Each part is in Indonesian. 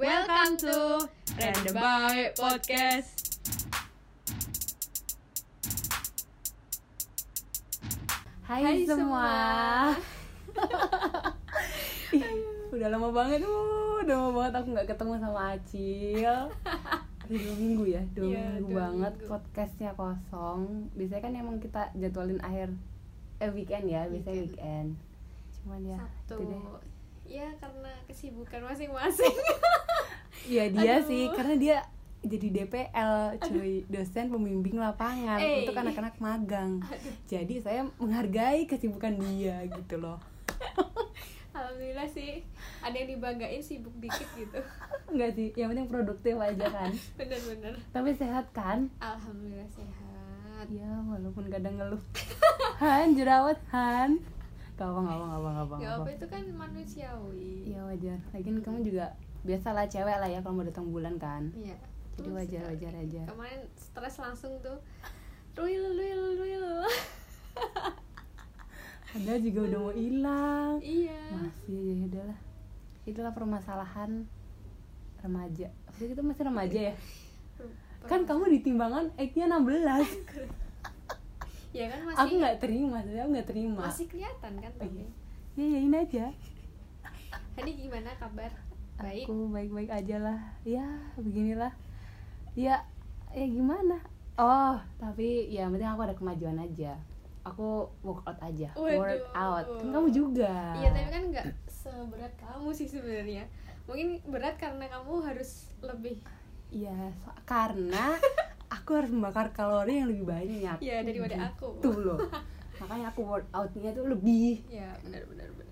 Welcome to Random Baik Podcast. Hai, Hai semua. Ih, udah lama banget, uh, udah lama banget aku nggak ketemu sama Acil. Udah dua minggu ya, dua Iya, minggu dua banget minggu. podcastnya kosong. Biasanya kan emang kita jadwalin akhir eh weekend ya, biasanya weekend. Cuman ya, itu Sabtu. deh. Ya karena kesibukan masing-masing. Iya dia Aduh. sih, karena dia jadi DPL cuy dosen pembimbing lapangan Eh. untuk anak-anak magang jadi saya menghargai kesibukan dia gitu loh Alhamdulillah sih ada yang dibanggain sibuk dikit gitu. enggak sih yang penting produktif aja kan Bener-bener. tapi sehat kan Alhamdulillah sehat. Ya, walaupun kadang ngeluh. Han, jerawat, Han. Gak apa, gak apa, gak apa, gak apa, Gak gak apa. apa itu kan manusiawi. Iya wajar. Lagian kamu juga biasalah cewek lah ya kalau mau datang bulan kan. Iya. Jadi Terus, wajar-wajar aja. Kemarin stres langsung tuh. Ruil, ruil, ruil. Ada juga udah mau hilang. iya. Masih ya udahlah. Itulah permasalahan remaja. Waktu kita masih remaja ya. Kan kamu di timbangan age-nya 16. ya kan masih Aku nggak terima, sebenarnya aku nggak terima. masih kelihatan kan tapi. Iya. Ya yain aja. Hani gimana kabar? Baik. aku baik-baik aja lah ya beginilah ya ya gimana oh tapi ya yang penting aku ada kemajuan aja aku workout aja Waduh. workout kan kamu juga Iya tapi kan nggak seberat kamu sih sebenarnya. Mungkin berat karena kamu harus lebih Iya, so- karena aku harus membakar kalori yang lebih banyak Gitu. ya daripada aku. tuh loh makanya aku workoutnya tuh lebih Ya benar benar benar.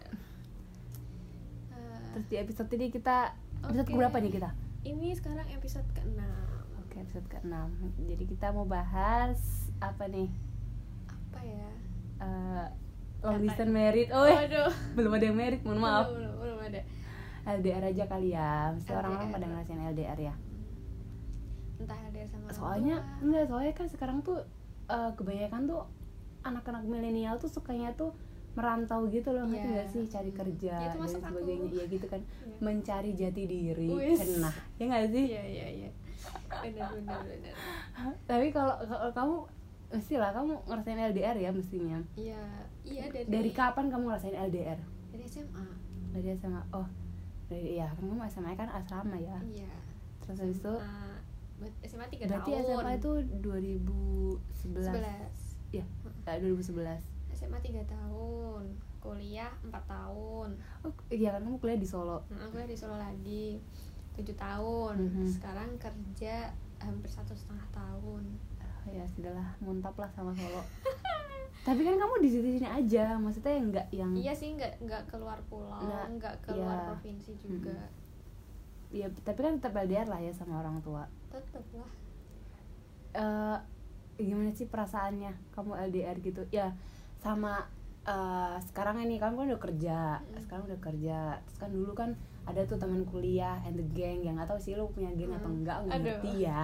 Eh, terus di episode ini kita episode Oke. berapa nih kita ini sekarang episode ke-6 oke episode ke 6 jadi kita mau bahas apa nih Apa ya? Eh, long Apa? distance married oh Waduh belum ada yang merit mohon maaf Belum, belum, belum ada LDR aja kali ya mesti LDR. orang-orang pada ngerasain LDR ya Entah ada sama orang soalnya tua. enggak soalnya kan sekarang tuh eh, kebanyakan tuh anak-anak milenial tuh sukanya tuh merantau gitu loh ngerti Iya. nggak sih cari kerja Ya, itu dan masuk aku. sebagainya ya gitu kan Iya. mencari jati diri Wis. nah ya nggak sih Iya iya iya Benar benar benar tapi kalau kalau kamu mesti lah kamu ngerasain LDR ya mestinya Iya Iya dari dari kapan kamu ngerasain LDR Dari SMA dari SMA oh dari ya kan kamu SMA kan asrama ya Iya terus habis itu Eh, buat SMA 3 Berarti tahun SMA itu 2011. 11 Iya, Hmm. eh, 2011. SMA 3 tahun, kuliah 4 tahun. Oh, iya kan kamu kuliah di Solo. Nah, aku di Solo lagi 7 tahun. Mhm. Sekarang kerja hampir satu setengah tahun. Ah, Ya sudahlah, muntap lah sama Solo. Tapi kan kamu di sini sini aja, maksudnya yang nggak yang Iya sih nggak nggak keluar pulau, Nah, nggak keluar Mm. iya. provinsi juga. ya tapi kan tetap LDR lah ya sama orang tua. Tetep lah. Eh gimana sih perasaannya kamu LDR gitu? Ya sama eh, sekarang ini kamu kan udah kerja, Mm. sekarang udah kerja. Terus kan dulu kan ada tuh teman kuliah and the gang yang nggak tahu sih lu punya geng atau Mm. enggak nggak Aduh. ngerti ya.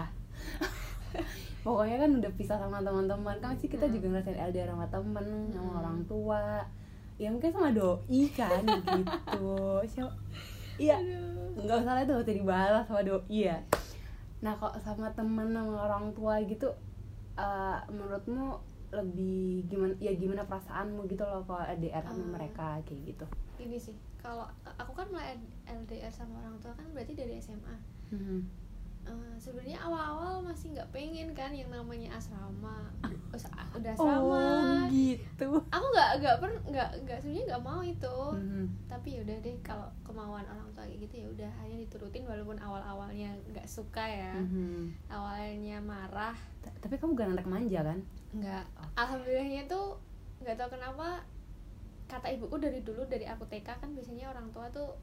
Pokoknya kan udah pisah sama teman-teman kan sih kita Mm. juga ngerasain LDR sama temen, sama Mm. orang tua. Ya mungkin sama doi kan gitu. Siapa- Iya, Aduh. nggak usah lah itu nggak usah dibalas sama doi ya nah kok sama temen sama orang tua gitu eh, menurutmu lebih gimana ya gimana perasaanmu gitu loh kalau LDR sama Ah. mereka kayak gitu Ini sih, kalau aku kan mulai LDR sama orang tua kan berarti dari SMA. Mhm. Eh, sebenarnya awal-awal masih nggak pengen kan yang namanya asrama Us- udah asrama oh gitu aku nggak nggak per nggak nggak sebenarnya nggak mau itu Oh, Mm. Mhm, tapi ya udah deh kalau kemauan orang tua kayak gitu ya udah hanya diturutin walaupun awal awalnya nggak suka ya Mhm. awalnya marah Ta- tapi kamu bukan anak manja kan nggak alhamdulillahnya tuh nggak tahu kenapa kata ibuku dari dulu dari aku TK kan biasanya orang tua tuh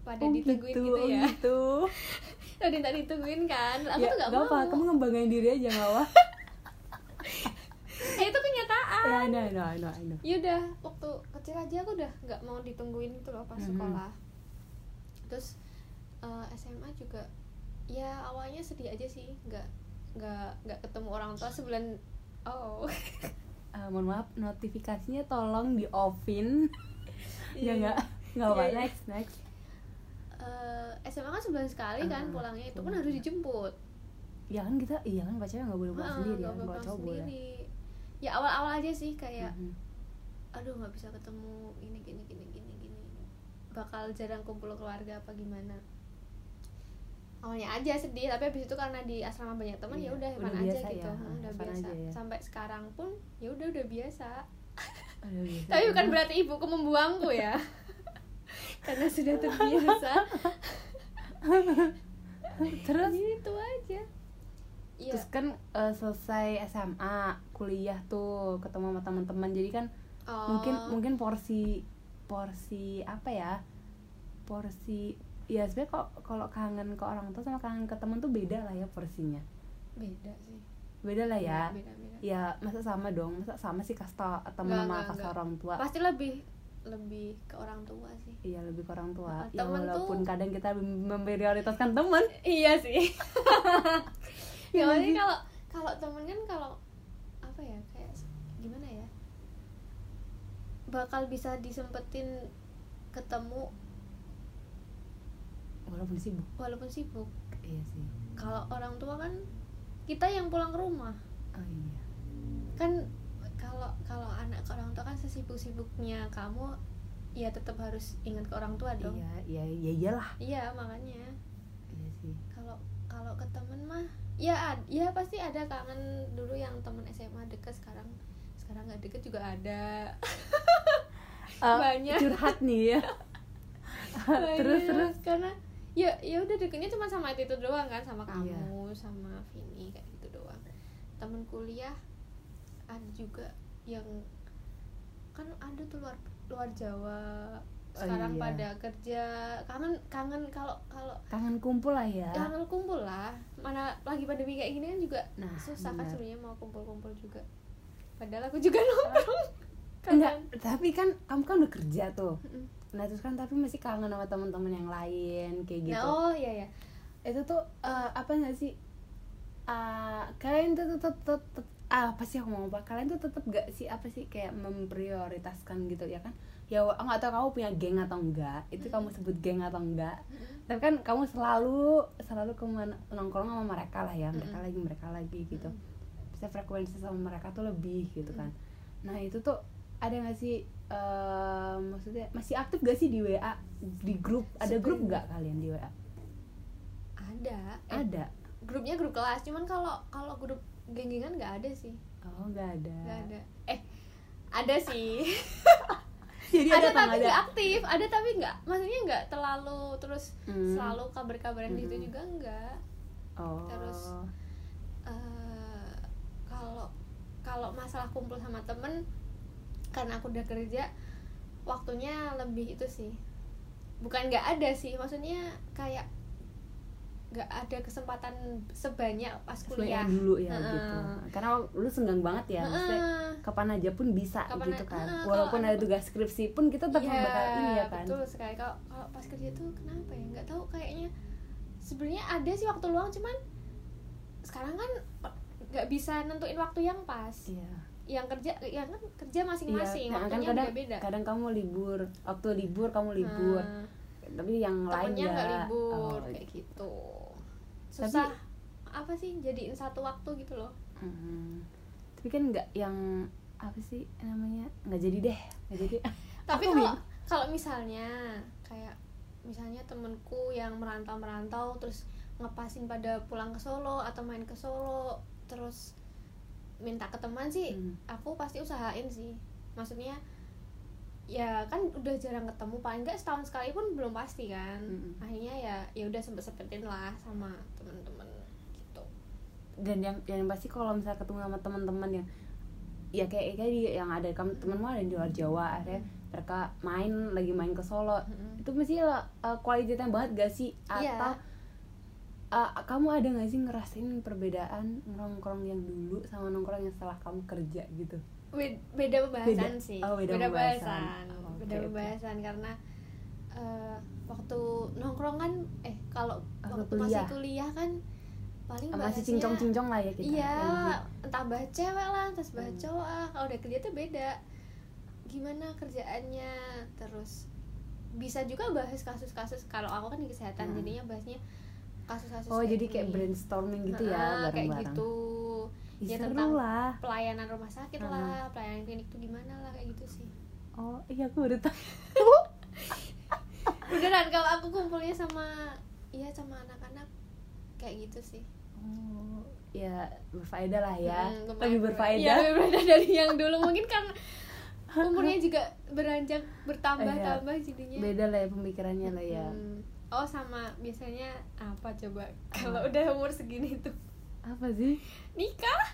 pada Oh ditungguin gitu, oh ya gitu. udah minta ditungguin kan aku Ya, tuh nggak nggak apa, mau kamu ngembangin diri aja nggak apa ya itu kenyataan ya no no no no Yaudah, Ya waktu kecil aja aku udah nggak mau ditungguin itu loh pas Mhm. sekolah. Terus eh, SMA juga, ya awalnya sedih aja sih, nggak nggak nggak ketemu orang tua sebulan. Oh, Eh, mohon maaf notifikasinya tolong di offin ya Iya. nggak nggak apa Iya, iya. next next Eh, SMA kan sebulan sekali Ah, kan pulangnya itu pun pulang. harus dijemput ya kan kita iya kan pacarnya nggak boleh pulang Ah, sendiri kan nggak boleh kalau pulang cowok boleh sendiri. iya. ya awal-awal aja sih kayak Mhm. aduh nggak bisa ketemu ini gini gini gini gini bakal jarang kumpul keluarga apa gimana awalnya aja sedih tapi habis itu karena di asrama banyak teman Iya, ya udah udah fun aja biasa gitu ya, Hmm, udah fun biasa aja ya. sampai sekarang pun ya udah udah biasa Aduh, iya. tapi bukan berarti ibuku membuangku ya karena sudah terbiasa terus gitu aja Iya. terus kan eh, selesai SMA kuliah tuh ketemu sama teman-teman jadi kan Oh. mungkin mungkin porsi porsi apa ya porsi ya sebenarnya kok kalau kangen ke orang tua sama kangen ke teman tuh beda lah ya porsinya beda sih beda lah ya Iya, beda beda ya masa sama dong masa sama sih kasta teman Nggak, sama nggak, kasta nggak. orang tua pasti lebih lebih ke orang tua sih Iya lebih ke orang tua. Nah, Ya temen tuh- walaupun kadang kita mem- memprioritaskan teman. iya sih ya Iya maksudnya sih. kalau kalau temen kan kalau apa ya kayak s- gimana ya bakal bisa disempetin ketemu Walaupun sibuk. walaupun sibuk Iya sih. kalau orang tua kan kita yang pulang ke rumah Oh iya. kan kalau kalau anak ke orang tua kan sesibuk-sibuknya kamu ya tetap harus ingat ke orang tua dong Iya, iya, iya iyalah. iya makanya Iya sih. kalau kalau ke temen mah ya ad- ya pasti ada kangen dulu yang temen SMA deket sekarang sekarang nggak deket juga ada Eh, Banyak. curhat nih ya. terus Banyak. terus Iya, karena ya ya udah deketnya cuma sama itu doang kan sama kamu Iya. sama Vini kayak gitu doang temen kuliah ada juga yang kan ada tuh luar luar Jawa iya. sekarang pada kerja kangen kangen kalau kalau kangen kumpul lah ya. kangen kumpul lah mana lagi pandemi kayak gini kan juga Nah, susah kan benar. sebenarnya mau kumpul-kumpul juga padahal aku juga nongkrong Enggak, Kadang. tapi kan kamu kan udah kerja tuh. Mm-mm. Nah, terus kan tapi masih kangen sama teman-teman yang lain kayak gitu. nah oh iya ya Itu tuh eh, apa nggak sih? Eh, kalian tuh tetep tetep ah, apa sih aku mau apa? Kalian tuh tetep gak sih apa sih kayak memprioritaskan gitu ya kan? Ya wa- nggak tahu kamu punya geng atau enggak. Itu Mm. kamu sebut geng atau enggak? Tapi kan kamu selalu selalu kemana nongkrong sama mereka lah ya, mereka Mm-mm. lagi mereka lagi gitu. bisa frekuensi sama mereka tuh lebih gitu kan nah itu tuh ada nggak sih eh, maksudnya masih aktif gak sih di WA di grup ada Sebenarnya- grup nggak kalian di WA Eh. ada Eh, ada grupnya grup kelas cuman kalau kalau grup geng-gengan nggak ada sih oh nggak ada nggak ada eh ada sih jadi ada, apa ada tapi nggak ada nggak aktif ada tapi nggak maksudnya nggak terlalu terus Hmm. selalu kabar-kabaran gitu Mm-mm. juga enggak oh Terus, Eh, kalau kalau masalah kumpul sama temen karena aku udah kerja waktunya lebih itu sih bukan nggak ada sih maksudnya kayak nggak ada kesempatan sebanyak pas kuliah kuliah dulu ya Heeh. gitu karena lu senggang banget ya maksudnya Heeh. kapan aja pun bisa Kapan gitu a- kan heeh, kalau walaupun ada ada- tugas skripsi pun kita tetap Iya, bakal ini ya kan betul sekali kalau kalau pas kerja tuh kenapa ya nggak tahu kayaknya sebenarnya ada sih waktu luang cuman sekarang kan nggak bisa nentuin waktu yang pas Iya. yang kerja yang kan kerja masing-masing Iya, kan waktunya kadang, beda-beda kadang kamu libur waktu libur kamu libur Nah, tapi yang lain temennya nggak nggak libur Oh, kayak gitu Tapi- susah apa sih jadiin satu waktu gitu loh Mm. tapi kan nggak yang apa sih namanya nggak jadi deh nggak jadi tapi Aku kalau min- kalau misalnya kayak misalnya temenku yang merantau-merantau terus ngepasin pada pulang ke Solo atau main ke Solo terus minta ke teman sih Hmm. aku pasti usahain sih maksudnya ya kan udah jarang ketemu paling nggak setahun sekali pun belum pasti kan Mm-mm. akhirnya ya ya udah sempet sempetin lah sama temen-temen gitu dan yang yang pasti kalau misalnya ketemu sama teman-teman yang ya kayak kayak di- yang ada kamu temanmu ada di luar Jawa akhirnya Hmm. mereka main lagi main ke Solo Mm-mm. itu mesti lah, uh, kualitasnya banget gak sih Iya. atau uh, kamu ada gak sih ngerasain perbedaan nongkrong yang dulu sama nongkrong yang setelah kamu kerja gitu Bed- beda Beda- pembahasan sih oh, beda pembahasan. Oh, oke, beda oke. pembahasan karena eh, waktu nongkrong kan eh kalau Waktu waktu kuliah. masih kuliah kan paling masih bahasnya- cincong-cincong lah ya kita iya Yang- entah bahas cewek lah entah bahas Hmm. cowok ah. kalau udah kerja tuh beda gimana kerjaannya terus bisa juga bahas kasus-kasus kalau aku kan di kesehatan Hmm. jadinya bahasnya kasus-kasus oh kayak jadi kayak gini. brainstorming gitu ya Ah. Nah, bareng kayak bareng gitu Ih, Ya, seru tentang- lah pelayanan rumah sakit Ah. lah pelayanan klinik tuh gimana lah kayak gitu sih oh iya aku baru tahu beneran kalau aku kumpulnya sama iya sama anak-anak kayak gitu sih oh ya berfaedah lah ya Mm, lumayan lebih Iya, berfaedah lebih berfaedah dari yang dulu mungkin karena umurnya juga beranjak Iya. bertambah-tambah jadinya beda lah ya pemikirannya lah ya Mm. oh sama biasanya apa coba kalau udah umur segini tuh apa sih nikah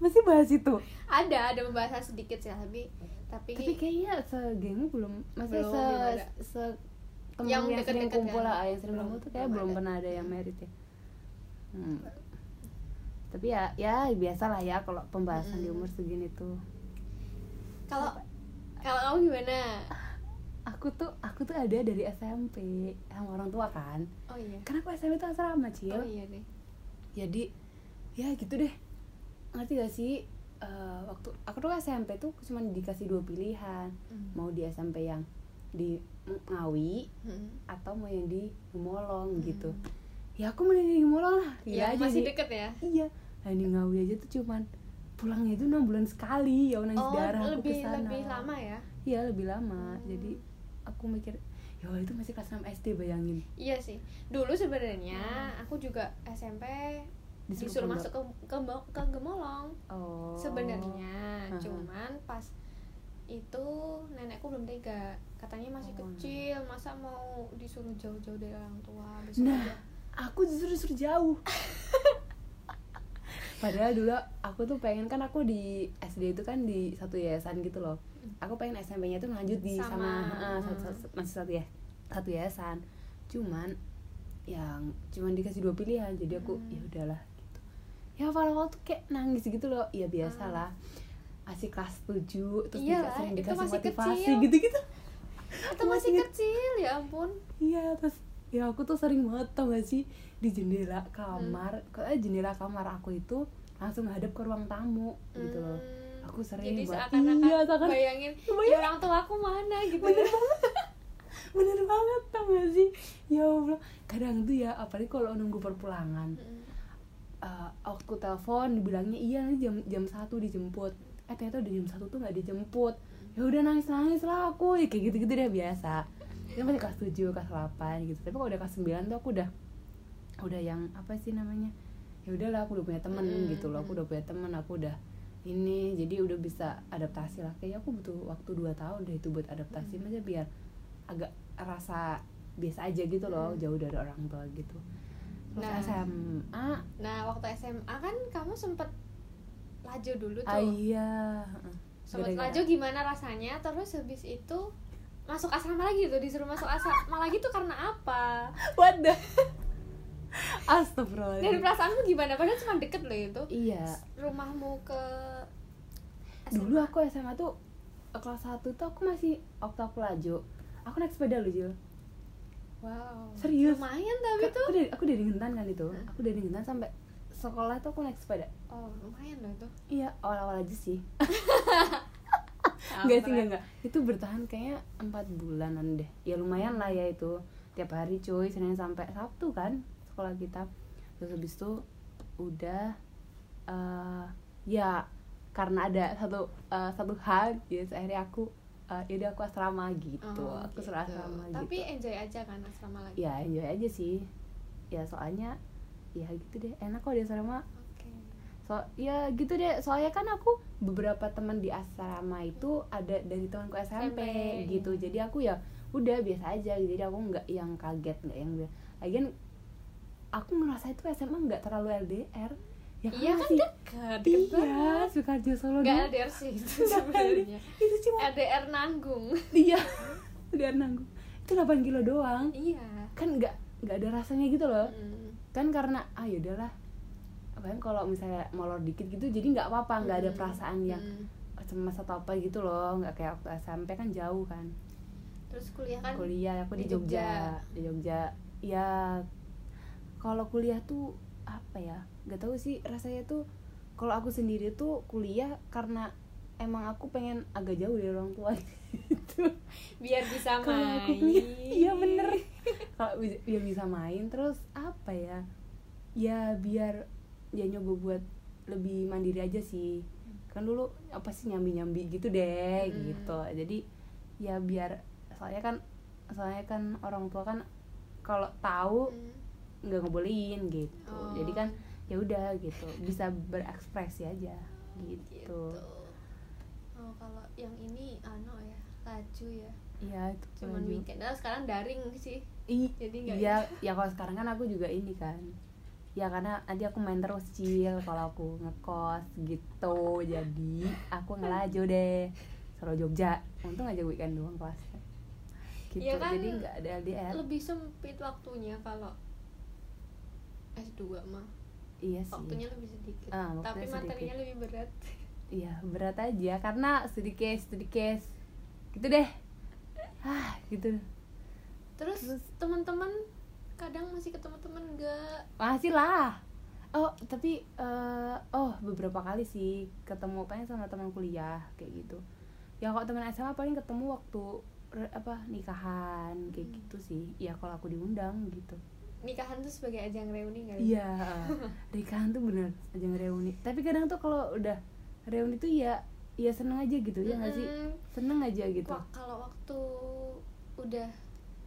masih bahas itu ada ada pembahasan sedikit sih tapi tapi, tapi kayaknya segengnya belum masih Belum, se belum ada. se temen Yang yang, sering deket-deket kumpul kan? lah yang sering Belum, kumpul tuh kayak belum belum ada. pernah ada yang merit ya Hmm. tapi ya ya biasalah ya kalau pembahasan di umur Mm-mm. segini tuh kalau kalau kamu gimana aku tuh aku tuh ada dari SMP sama orang tua kan oh iya karena aku SMP tuh asrama cil oh iya deh jadi ya gitu deh ngerti gak sih Eh, waktu aku tuh SMP tuh cuma dikasih dua pilihan Mm. mau di SMP yang di Ngawi Mm. atau mau yang di Molong Hmm. gitu ya aku mending di Molong lah Iya, Gila aja masih sih. deket ya iya nah, di Ngawi aja tuh cuman pulangnya itu enam bulan sekali ya nangis oh darah aku lebih kesana. lebih lama ya iya lebih lama Hmm. jadi aku mikir ya Allah, itu masih kelas 6 SD bayangin iya sih dulu sebenarnya Hmm. aku juga SMP disuruh, masuk ke ke, Mo- ke Gemolong oh. sebenarnya Aha. cuman pas itu nenekku belum tega katanya masih Oh. kecil masa mau disuruh jauh-jauh dari orang tua besok Nah. aja. aku justru disuruh jauh padahal dulu aku tuh pengen kan aku di SD itu kan di satu yayasan gitu loh aku pengen SMP-nya tuh lanjut di sama, Sama. eh, satu, satu- masih satu ya satu yayasan cuman yang cuman dikasih dua pilihan jadi aku Hmm. ya udahlah gitu ya awal-awal tuh kayak nangis gitu loh ya biasalah masih kelas 7 terus dikasih, sering Iyalah, Ah. Iya, itu dikasih masih motivasi kecil. gitu-gitu itu masih kecil ya ampun Iya terus ya aku tuh sering banget tau gak sih di jendela kamar kalau jendela kamar aku itu langsung hadap ke ruang tamu gitu loh Hmm, aku sering jadi buat- seakan-akan iya, seakan- bayangin Bayangin. ya orang tua aku mana gitu bener ya. banget bener banget tau gak sih ya allah kadang tuh ya apalagi kalau nunggu perpulangan Mm-mm. eh, aku telepon dibilangnya iya nanti jam jam satu dijemput eh ternyata udah jam satu tuh nggak dijemput ya udah nangis nangis lah aku ya, kayak gitu gitu deh biasa itu masih kelas 7, kelas 8 gitu tapi kalau udah kelas 9 tuh aku udah udah yang apa sih namanya ya udahlah aku udah punya temen Mm, gitu loh aku mm. udah punya temen aku udah ini jadi udah bisa adaptasi lah kayaknya aku butuh waktu 2 tahun deh itu buat adaptasi Mm. aja biar agak rasa biasa aja gitu loh Mm. jauh dari orang tua gitu terus Nah. SMA nah waktu SMA kan kamu sempet lajo dulu ah, tuh iya sempet Gara-gara- lajo gimana rasanya terus habis itu masuk asrama lagi tuh disuruh masuk asrama lagi tuh karena apa what the dari astagfirullahaladzim perasaanmu gimana padahal cuma deket loh itu iya rumahmu ke dulu ah. aku SMA tuh eh, kelas 1 tuh aku masih waktu aku laju aku naik sepeda loh Jul wow Serius? lumayan tapi Ka- tuh aku dari aku dari Gentan kan itu Hah? aku dari Gentan sampai sekolah tuh aku naik sepeda oh lumayan loh itu iya awal-awal aja sih kan? Enggak sih, enggak, enggak. Itu bertahan kayaknya empat bulanan deh. Ya lumayan lah ya itu. Tiap hari cuy, Senin sampai Sabtu kan sekolah kita. Terus habis itu udah eh ya karena ada satu eh, satu hal, jadi akhirnya aku eh, ya udah aku asrama gitu. Oh, aku gitu. suruh asrama tapi gitu. enjoy aja kan asrama lagi Ya enjoy aja sih. Ya soalnya ya gitu deh. Enak kok di asrama oke so ya gitu deh soalnya kan aku beberapa teman di asrama itu ada dari temanku SMP, SMP, gitu iya. jadi aku ya udah biasa aja gitu. jadi aku nggak yang kaget nggak yang lagian aku ngerasa itu SMA nggak terlalu LDR ya iya kan masih- dekat deket iya banget Sukarjo Solo nggak dulu. LDR sih itu Nggak sebenarnya itu cuma LDR nanggung dia dia nanggung itu 8 kilo doang iya kan nggak nggak ada rasanya gitu loh Mm. kan karena ah yaudahlah kan kalau misalnya molor dikit gitu jadi nggak apa-apa nggak ada Mm. perasaan yang Mm. cemas atau apa gitu loh nggak kayak waktu SMP kan jauh kan terus kuliah kan kuliah aku di, di Jogja. di Jogja ya kalau kuliah tuh apa ya nggak tahu sih rasanya tuh kalau aku sendiri tuh kuliah karena emang aku pengen agak jauh dari orang tua gitu biar bisa kalau main aku punya iya bener kalau bi- biar bisa main terus apa ya ya biar ya nyoba buat lebih mandiri aja sih kan dulu apa sih nyambi nyambi gitu deh Hmm. gitu jadi ya biar soalnya kan soalnya kan orang tua kan kalau tahu Hmm. nggak ngebolehin gitu Oh. jadi kan ya udah gitu bisa berekspresi aja gitu oh kalau yang ini ano ya laju ya iya itu cuman baju. weekend nah, sekarang daring sih I- Jadi nggak iya ya kalau sekarang kan aku juga ini kan ya karena nanti aku main terus cil kalau aku ngekos gitu jadi aku ngelajo deh Solo Jogja untung aja weekend doang kelasnya gitu Iya kan, jadi nggak ada LDR lebih sempit waktunya kalau S2 mah iya sih waktunya lebih sedikit Ah, waktunya tapi sedikit. materinya lebih berat iya berat aja karena studi case studi case gitu deh ah gitu terus, Terus- teman-teman kadang masih ketemu teman enggak Masih lah. Oh, tapi eh, oh beberapa kali sih ketemu paling sama teman kuliah kayak gitu. Ya kalau teman SMA paling ketemu waktu re- apa nikahan kayak Hmm. gitu sih. Ya kalau aku diundang gitu. nikahan tuh sebagai ajang reuni nggak Iya. nikahan tuh bener aja reuni. Tapi kadang tuh kalau udah reuni tuh ya ya seneng aja gitu ya nggak sih? Mm-mm. Seneng aja gitu. Wah, kalau waktu udah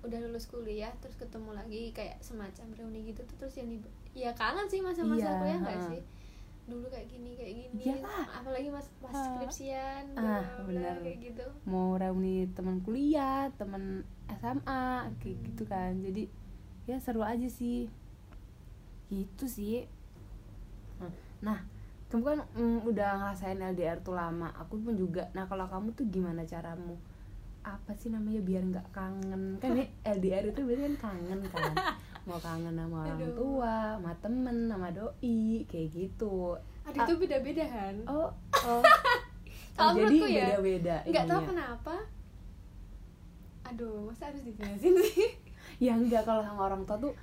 udah lulus kuliah terus ketemu lagi kayak semacam reuni gitu tuh terus yang di ya kangen sih masa-masa Iya, kuliah nggak ha. sih dulu kayak gini kayak gini Iya lah. apalagi mas pas Ha. skripsian Ah, bla-bla-bla, bener. kayak gitu mau reuni teman kuliah, teman SMA kayak Hmm. gitu kan. Jadi ya seru aja sih. Gitu sih. Nah, kamu kan mm, udah ngerasain LDR tuh lama. Aku pun juga. Nah, kalau kamu tuh gimana caramu? Apa sih namanya biar nggak kangen? Kan ini LDR itu biasanya kan kangen kan. Mau kangen sama orang Aduh. tua, sama temen, sama doi, kayak gitu. ada Ah. itu beda-beda kan Oh, oh. Kalau jadi menurutku ya, beda-beda. Iya. nggak tahu ininya. kenapa aduh masa harus dijelasin sih ya enggak kalau sama orang tua tuh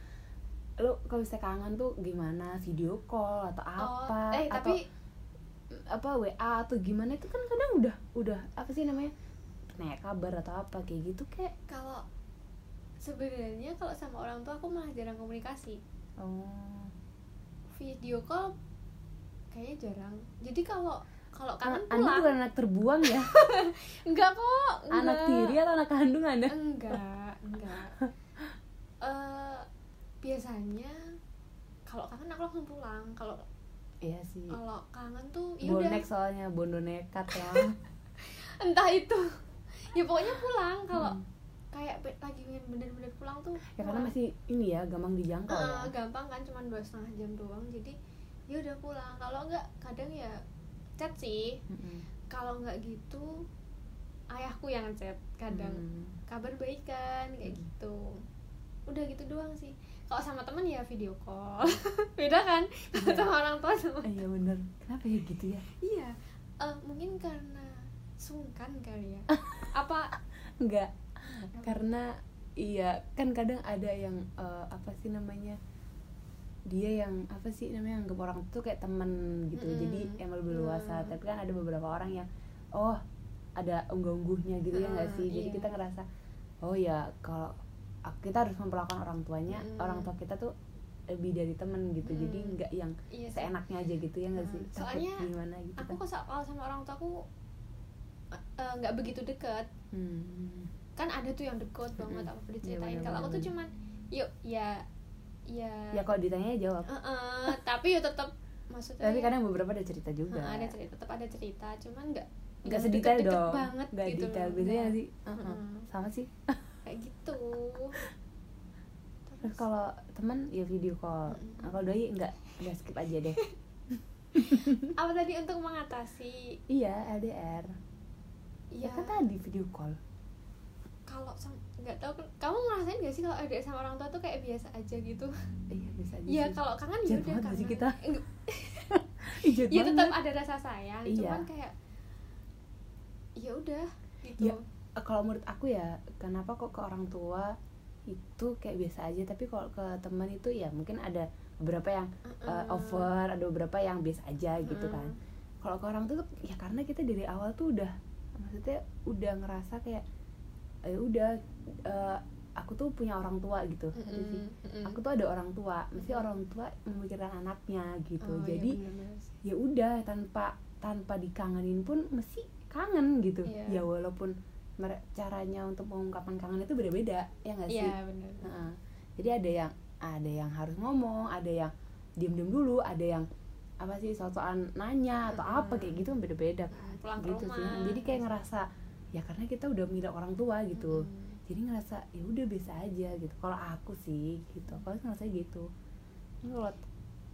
lu kalau bisa kangen tuh gimana video call atau apa oh, eh atau tapi apa WA atau gimana itu kan kadang udah udah apa sih namanya nanya kabar atau apa kayak gitu kayak kalau sebenarnya kalau sama orang tua aku malah jarang komunikasi oh video call kayaknya jarang jadi kalau kalau kangen anda pulang bukan anak terbuang ya enggak kok enggak. Oh, anak tiri ya? atau anak kandung anda enggak enggak Eh, biasanya kalau kangen aku langsung pulang kalau iya sih kalau kangen tuh ya udah bonek soalnya bondo nekat ya entah itu ya pokoknya pulang kalau kayak be- lagi pengen bener-bener pulang tuh Hmm. ya karena pulang. masih ini ya gampang dijangkau Eh, ya gampang kan cuma dua setengah jam doang jadi ya udah pulang kalau enggak kadang ya chat sih Mm-mm. kalau nggak gitu ayahku yang chat kadang Hmm. kabar baikan kayak gitu udah gitu doang sih kalau sama temen ya video call beda kan Kalau sama orang tua sama Eh, iya bener kenapa ya gitu ya iya Eh, mungkin karena sungkan kali ya apa enggak karena iya kan kadang ada yang eh, apa sih namanya dia yang apa sih namanya anggap orang tuh kayak temen gitu Mm-mm. jadi yang lebih luasa Mm. tapi kan ada beberapa orang yang oh ada unggah-ungguhnya gitu ya nggak Mm, sih jadi iya. kita ngerasa oh ya kalau ak- kita harus memperlakukan orang tuanya Mm. orang tua kita tuh lebih dari temen gitu jadi Mm. nggak yang iya sih. seenaknya aja gitu ya nggak Mm. sih Takut Soalnya gimana gitu aku kan kok sa- kalau sama orang tua aku eh, eh, nggak begitu deket Hmm. kan ada tuh yang deket banget Mm-mm. apa Iya, diceritain bener, kalau aku bener, tuh cuman yuk ya ya, ya kalau ditanya ya jawab Eh, eh, tapi ya tetap maksudnya tapi ya- kadang beberapa ada cerita juga Nah, ada cerita, tetap ada cerita, cuman nggak nggak yang sedetail Iya, deket-deket dong banget nggak gitu detail loh. biasanya Nggak. sih uh-uh. Mm-mm. sama sih Kayak gitu. terus kalau teman ya video call Mm-mm. Nah, kalau doi nggak udah skip aja deh apa tadi untuk mengatasi? iya LDR ya, Ya, kan tadi video call kalau sam- nggak tahu kamu ngerasain nggak sih kalau ada sama orang tua tuh kayak biasa aja gitu? iya bisa aja Ya sih. kalau kangen ya Jahat udah banget nggak sih kangen. kita? Enggak, Ih, jahat Ya tetap banget. ada rasa sayang, Iya. cuman kayak ya udah gitu. Ya, Eh, kalau menurut aku ya kenapa kok ke orang tua itu kayak biasa aja tapi kalau ke teman itu ya mungkin ada beberapa yang eh, Mm-mm. over ada beberapa yang biasa aja gitu Mm-mm. kan kalau ke orang tua tuh, ya karena kita dari awal tuh udah maksudnya udah ngerasa kayak ya udah eh, aku tuh punya orang tua gitu Mm-mm, Ngerti sih? mm-mm. aku tuh gitu. ada orang tua mesti Mm-mm. orang tua memikirkan anaknya gitu Oh, iya, jadi bener-bener ya sih. udah tanpa tanpa dikangenin pun mesti kangen gitu Iya. ya walaupun mere- caranya untuk mengungkapkan kangen itu beda-beda ya nggak sih iya bener Heeh. jadi ada yang ada yang harus ngomong ada yang diem-diem dulu ada yang apa sih sosokan nanya atau apa Mm-mm. kayak gitu kan beda-beda kan Mm, pulang ke gitu sih rumah. jadi kayak ngerasa ya karena kita udah mengidap orang tua gitu Mm-mm. jadi ngerasa ya udah biasa aja gitu kalau aku sih gitu kalau ngerasa gitu Ini kalau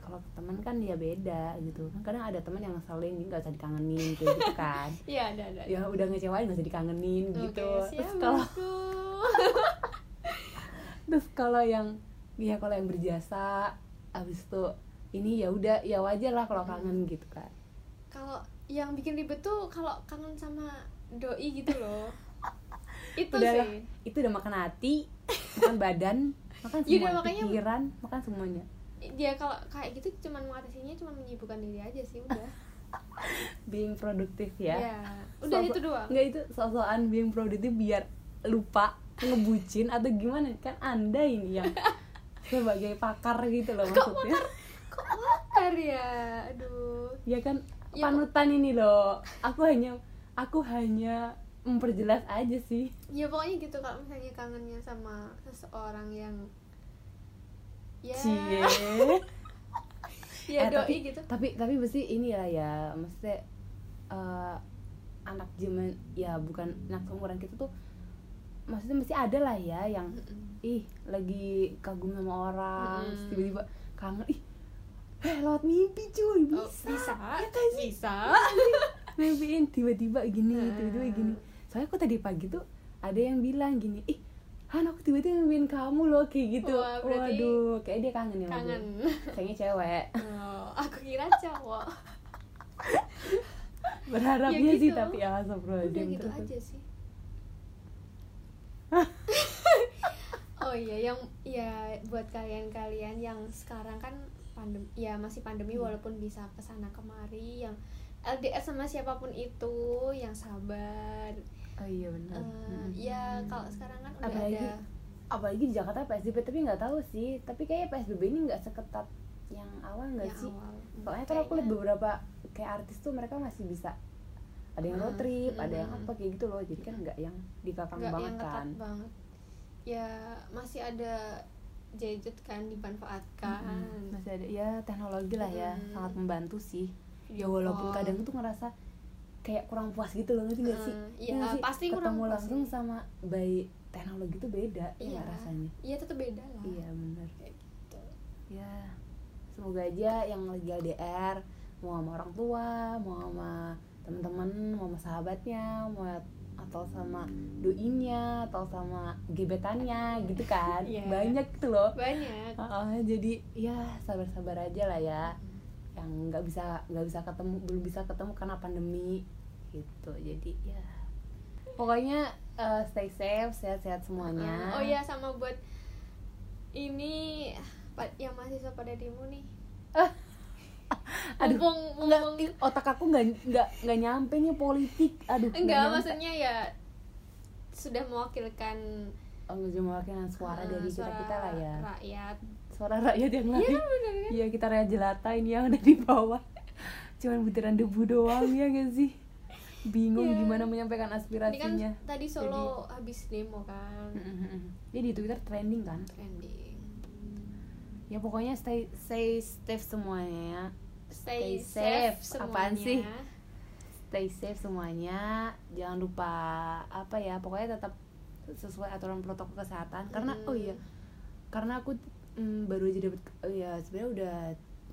kalau ke teman kan dia beda gitu kan kadang ada teman yang ngeselin jadi nggak usah dikangenin kayak gitu kan iya ada ada ada. ya udah ngecewain nggak usah dikangenin Oke, gitu terus siap kalau bosku. terus kalau yang ya kalau yang berjasa abis itu ini ya udah ya wajar lah kalau kangen Hmm. gitu kan kalau yang bikin ribet tuh kalau kangen sama doi gitu loh itu Udahlah, sih itu udah makan hati makan badan makan semua Yaudah, Ya makanya- pikiran makan semuanya dia kalau kayak gitu cuman mengatasinya cuman menyibukkan diri aja sih Ah, udah being produktif ya Iya. udah Sosok- itu doang Enggak itu sosokan being proud itu biar lupa ngebucin atau gimana kan anda ini yang sebagai pakar gitu loh maksudnya kok makar ya aduh ya kan Ya, panutan ini loh aku hanya aku hanya memperjelas aja sih ya pokoknya gitu kalau misalnya kangennya sama seseorang yang ya cie ya Eh, doi tapi, gitu tapi tapi mesti ini lah ya mesti eh, anak zaman ya bukan anak seumuran kita tuh maksudnya mesti ada lah ya yang Mm-mm. ih lagi kagum sama orang terus Mm. tiba-tiba kangen ih eh lewat mimpi cuy bisa, Oh, bisa Ya kan sih? bisa mimpiin tiba-tiba gini Nah. tiba-tiba gini soalnya aku tadi pagi tuh ada yang bilang gini ih Han aku tiba-tiba mimpiin kamu loh kayak gitu Wah, berarti waduh kayak dia kangen ya sama gue. kangen sayangnya cewek oh, aku kira cowok berharapnya Ya sih gitu. tapi ya udah astagfirullahaladzim gitu terus- aja sih oh iya yang ya buat kalian-kalian yang sekarang kan pandem ya masih pandemi Hmm. walaupun bisa kesana kemari yang LDR sama siapapun itu yang sabar oh iya benar Eh, Mm. ya kalau sekarang kan udah Apalagi- ada apalagi di Jakarta PSBB tapi nggak tahu sih tapi kayaknya PSBB ini nggak seketat yang awal nggak yang sih awal Soalnya kan aku lihat Kayaknya- beberapa kayak artis tuh mereka masih bisa ada yang road Hmm, trip, ada yang hmm. apa kayak gitu loh. Jadi kan nggak yang dikakang nggak banget yang ketat kan. banget ya masih ada gadget kan dimanfaatkan Mm-mm. Masih ada ya teknologi lah ya, Mm-mm. sangat membantu sih. Ya Video walaupun call. kadang tuh ngerasa kayak kurang puas gitu loh ngerti nggak sih? Mm, Ngerti iya, nggak sih? pasti Ketemu kurang puas langsung sih. sama baik teknologi tuh beda ya Iya. nggak rasanya. iya tetap beda lah Iya bener Kayak gitu. Ya semoga aja yang lagi LDR mau sama orang tua, mau sama teman-teman, mau sama sahabatnya, mau atau sama doinya atau sama gebetannya gitu kan Iya. banyak gitu loh banyak Heeh, jadi ya sabar-sabar aja lah ya yang nggak bisa nggak bisa ketemu belum bisa ketemu karena pandemi gitu jadi ya pokoknya eh, stay safe sehat-sehat semuanya oh iya sama buat ini pa- yang mahasiswa pada demo nih Aduh. mumpung Nggak, mumpung i- otak aku nggak nggak nggak nyampe nih politik aduh nggak enggak nyampe. maksudnya ya sudah mewakilkan oh, nggak mewakilkan suara eh, dari kita suara kita lah ya rakyat suara rakyat yang lain Iya, bener kan? iya kita rakyat jelata ini yang ada di bawah cuman butiran debu doang ya gak sih bingung Iya. gimana menyampaikan ini kan aspirasinya tadi Solo habis demo kan Mm-mm-mm. dia di twitter trending kan trending ya pokoknya stay stay safe semuanya ya. Stay stay, safe, safe. semuanya Apaan sih? stay safe semuanya jangan lupa apa ya pokoknya tetap sesuai aturan protokol kesehatan karena Mm. oh iya karena aku mm, baru aja dapat oh ya sebenarnya udah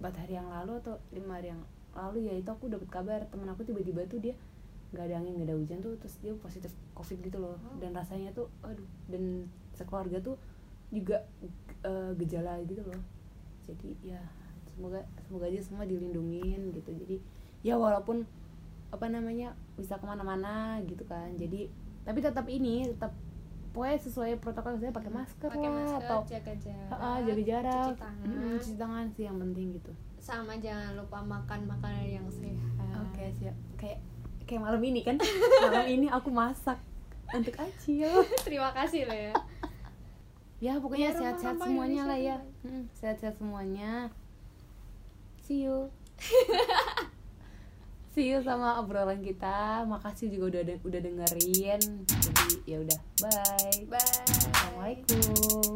empat hari yang lalu atau lima hari yang lalu ya itu aku dapat kabar temen aku tiba-tiba tuh dia nggak ada angin nggak ada hujan tuh terus dia positif covid gitu loh Oh. dan rasanya tuh aduh dan sekeluarga tuh juga eh, gejala gitu loh jadi ya semoga semoga aja semua dilindungin gitu jadi ya walaupun apa namanya bisa kemana-mana gitu kan jadi tapi tetap ini tetap pokoknya sesuai protokol saya pakai masker pakai lah masker atau jaga jarak Ah, ah, jaga jarak cuci tangan Mm, cuci tangan sih yang penting gitu sama jangan lupa makan makanan yang sehat Oke siap. Kayak kayak malam ini kan. malam ini aku masak untuk Acil. terima kasih loh ya Ya pokoknya Ya, sehat-sehat rumah-rumah semuanya Indonesia lah ya. tuh. Hmm, Sehat-sehat semuanya. See you. See you sama obrolan kita. Makasih juga udah de- udah dengerin. Jadi ya udah, bye. bye Assalamualaikum.